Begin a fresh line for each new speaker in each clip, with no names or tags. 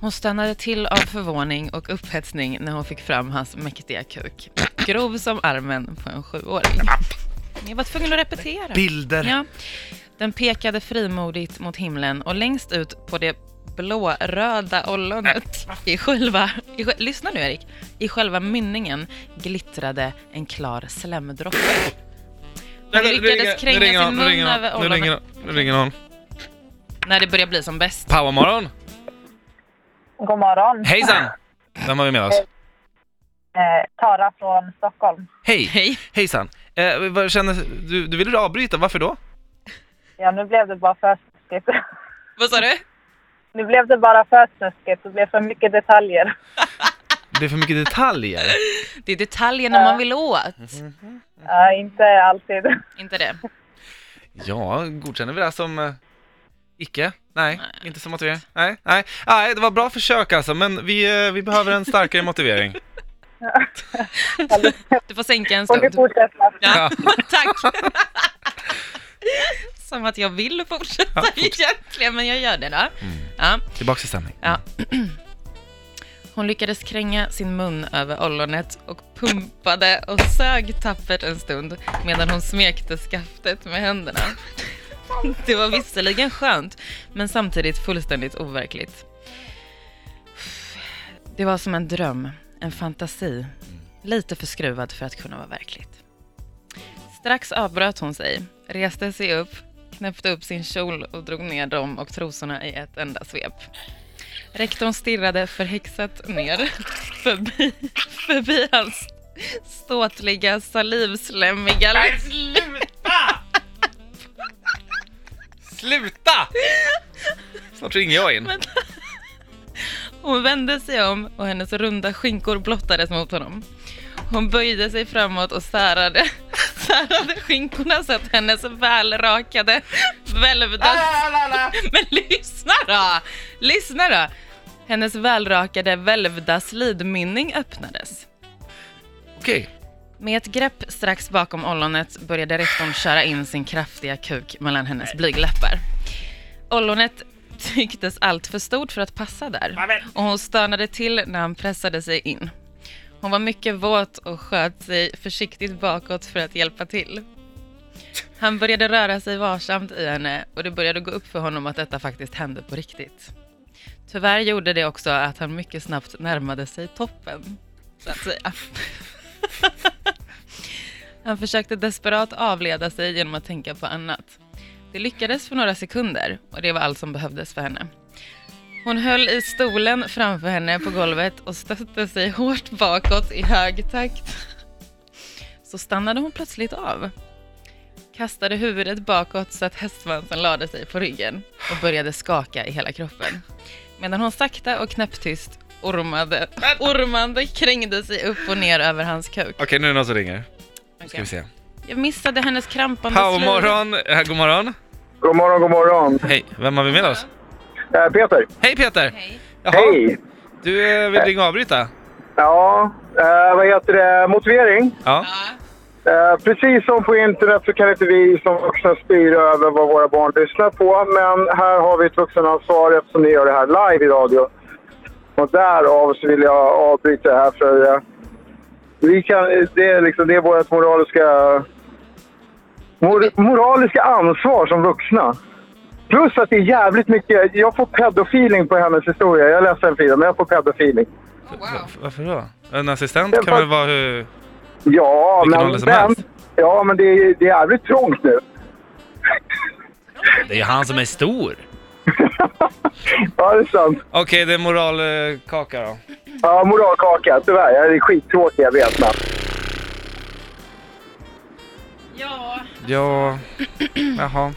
Hon stannade till av förvåning och upphetsning när hon fick fram hans mäktiga kuk. Grov som armen på en sjuåring. Jag var tvungen att repetera.
Bilder.
Ja. Den pekade frimodigt mot himlen och längst ut på det blåröda ollonet i själva, i, sj- lyssna nu Erik, i själva mynningen glittrade en klar slemdroppe. Hon
Nej, nu ringer-
lyckades
nu ringer
kränga
någon,
sin
nu ringer
mun
någon,
över
Nu ringer
ollonet.
någon, nu ringer någon.
När det börjar bli som bäst.
Powermorgon!
God morgon.
Hejsan! Vem har vi med oss?
Eh, Tara från Stockholm.
Hej!
Hej.
Hejsan! Eh, vad känner, du, du ville avbryta, varför då?
Ja, nu blev det bara för snuskigt.
Vad sa du?
Nu blev det bara för snuskigt. Det blev för mycket detaljer.
Det blir för mycket detaljer.
Det är detaljerna man vill åt.
Ja, inte alltid.
Inte det.
Ja, godkänner vi det här som eh, icke? Nej, inte som motivering. Nej, nej. nej, det var bra försök alltså, men vi, eh, vi behöver en starkare motivering.
Du får sänka en
Får du
stund.
fortsätta?
Ja, tack. Som att jag vill fortsätta egentligen, men jag gör det då. Ja.
Tillbaks till stämning.
Ja. Hon lyckades kränga sin mun över ollonet och pumpade och sög tappert en stund medan hon smekte skaftet med händerna. Det var visserligen skönt, men samtidigt fullständigt overkligt. Det var som en dröm, en fantasi, lite förskruvad för att kunna vara verkligt. Strax avbröt hon sig, reste sig upp, knäppte upp sin kjol och drog ner dem och trosorna i ett enda svep. Rektorn stirrade förhäxat ner förbi, förbi hans ståtliga salivslemmiga...
sluta! sluta! Snart ringer jag in.
Men- Hon vände sig om och hennes runda skinkor blottades mot honom. Hon böjde sig framåt och särade, särade skinkorna så att hennes välrakade
La,
välvda...
la, la, la.
Men lyssna då! Lyssna då! Hennes välrakade välvda slidmynning öppnades.
Okej,
Med ett grepp strax bakom ollonet började rektorn köra in sin kraftiga kuk mellan hennes blygdläppar. Ollonet tycktes allt för stort för att passa där och hon stönade till när han pressade sig in. Hon var mycket våt och sköt sig försiktigt bakåt för att hjälpa till. Han började röra sig varsamt i henne och det började gå upp för honom att detta faktiskt hände på riktigt. Tyvärr gjorde det också att han mycket snabbt närmade sig toppen, så att säga. Han försökte desperat avleda sig genom att tänka på annat. Det lyckades för några sekunder och det var allt som behövdes för henne. Hon höll i stolen framför henne på golvet och stötte sig hårt bakåt i hög takt. Så stannade hon plötsligt av. Kastade huvudet bakåt så att hästsvansen lade sig på ryggen och började skaka i hela kroppen. Medan hon sakta och knäpptyst ormade, ormande krängde sig upp och ner över hans kuk.
Okej, nu är det någon som ringer. Ska
Okej.
vi se.
Jag missade hennes krampande
Powermorgon, eh, god morgon.
God morgon, god morgon.
Hej, vem har vi med oss?
Eh, Peter.
Hej Peter!
Hej.
Jaha,
Hej.
du eh, vill ringa och avbryta?
Ja, eh, vad heter det? Motivering.
Ja.
Ja.
Eh, precis som på internet så kan inte vi som vuxna styra över vad våra barn lyssnar på. Men här har vi ett vuxenansvar eftersom ni gör det här live i radio. Och därav så vill jag avbryta det här för eh, vi kan, det, är liksom, det är vårt moraliska, mor, moraliska ansvar som vuxna. Plus att det är jävligt mycket, jag får pedofeeling på hennes historia. Jag är ledsen Frida, men jag får pedofeeling.
Va- Varför då? En assistent
Jag
kan
bara-
väl vara hur...
Ja,
Vilken
men,
ålder som
men,
helst.
ja, men det, är, det är jävligt trångt nu.
Det är han som är stor!
Ja, det är sant.
Okej, det är moralkaka då.
Ja, moralkaka. Tyvärr. Jag är skittråkig, jag vet. Men.
ja,
Ja... Jaha.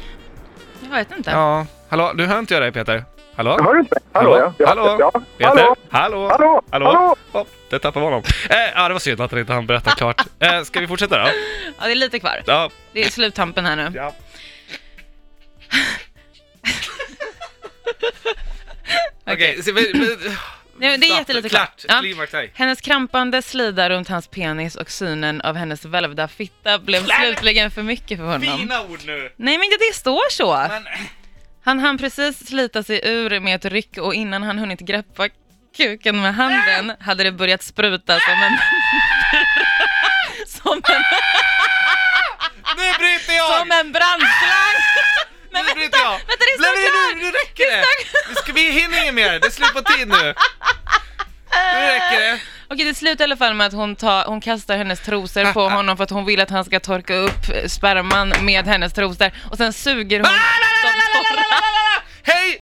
jag vet inte.
Ja. Hallå, nu hör inte jag dig Peter. Hallå?
Hör du inte mig? Hallå, ja.
Hallå?
Ja.
Peter?
Hallå?
Hallå?
Hallå? Hallå?
Oh, det tappade honom. Eh, ja, det var synd att han inte hann berätta klart. Eh, ska vi fortsätta då?
Ja, det är lite kvar.
Ja.
Det är sluttampen här nu.
ja. Okej, så men- men-
Nej, det är jättelite
klart.
Ja.
Klimax här.
Hennes krampande slida runt hans penis och synen av hennes välvda fitta blev slutligen för mycket för honom.
Fina ord nu!
Nej men det, det står så!
Men
Han hann precis slita sig ur med ett ryck och innan han hunnit greppa kuken med handen hade det börjat spruta som en... som en,
Nu bryter jag!
som en brandslang! Men
nu
vänta,
bryter jag!
vänta, det är
Nej,
snart
nej,
klart!
nu, nu räcker det! Vi, ska, vi hinner inget mer, det är slut på tid nu. Nu räcker det.
Okej, det slutar i alla fall med att hon, tar, hon kastar hennes trosor på honom för att hon vill att han ska torka upp Ah, eh, sperman med hennes trosor och sen suger hon de torra.
Hej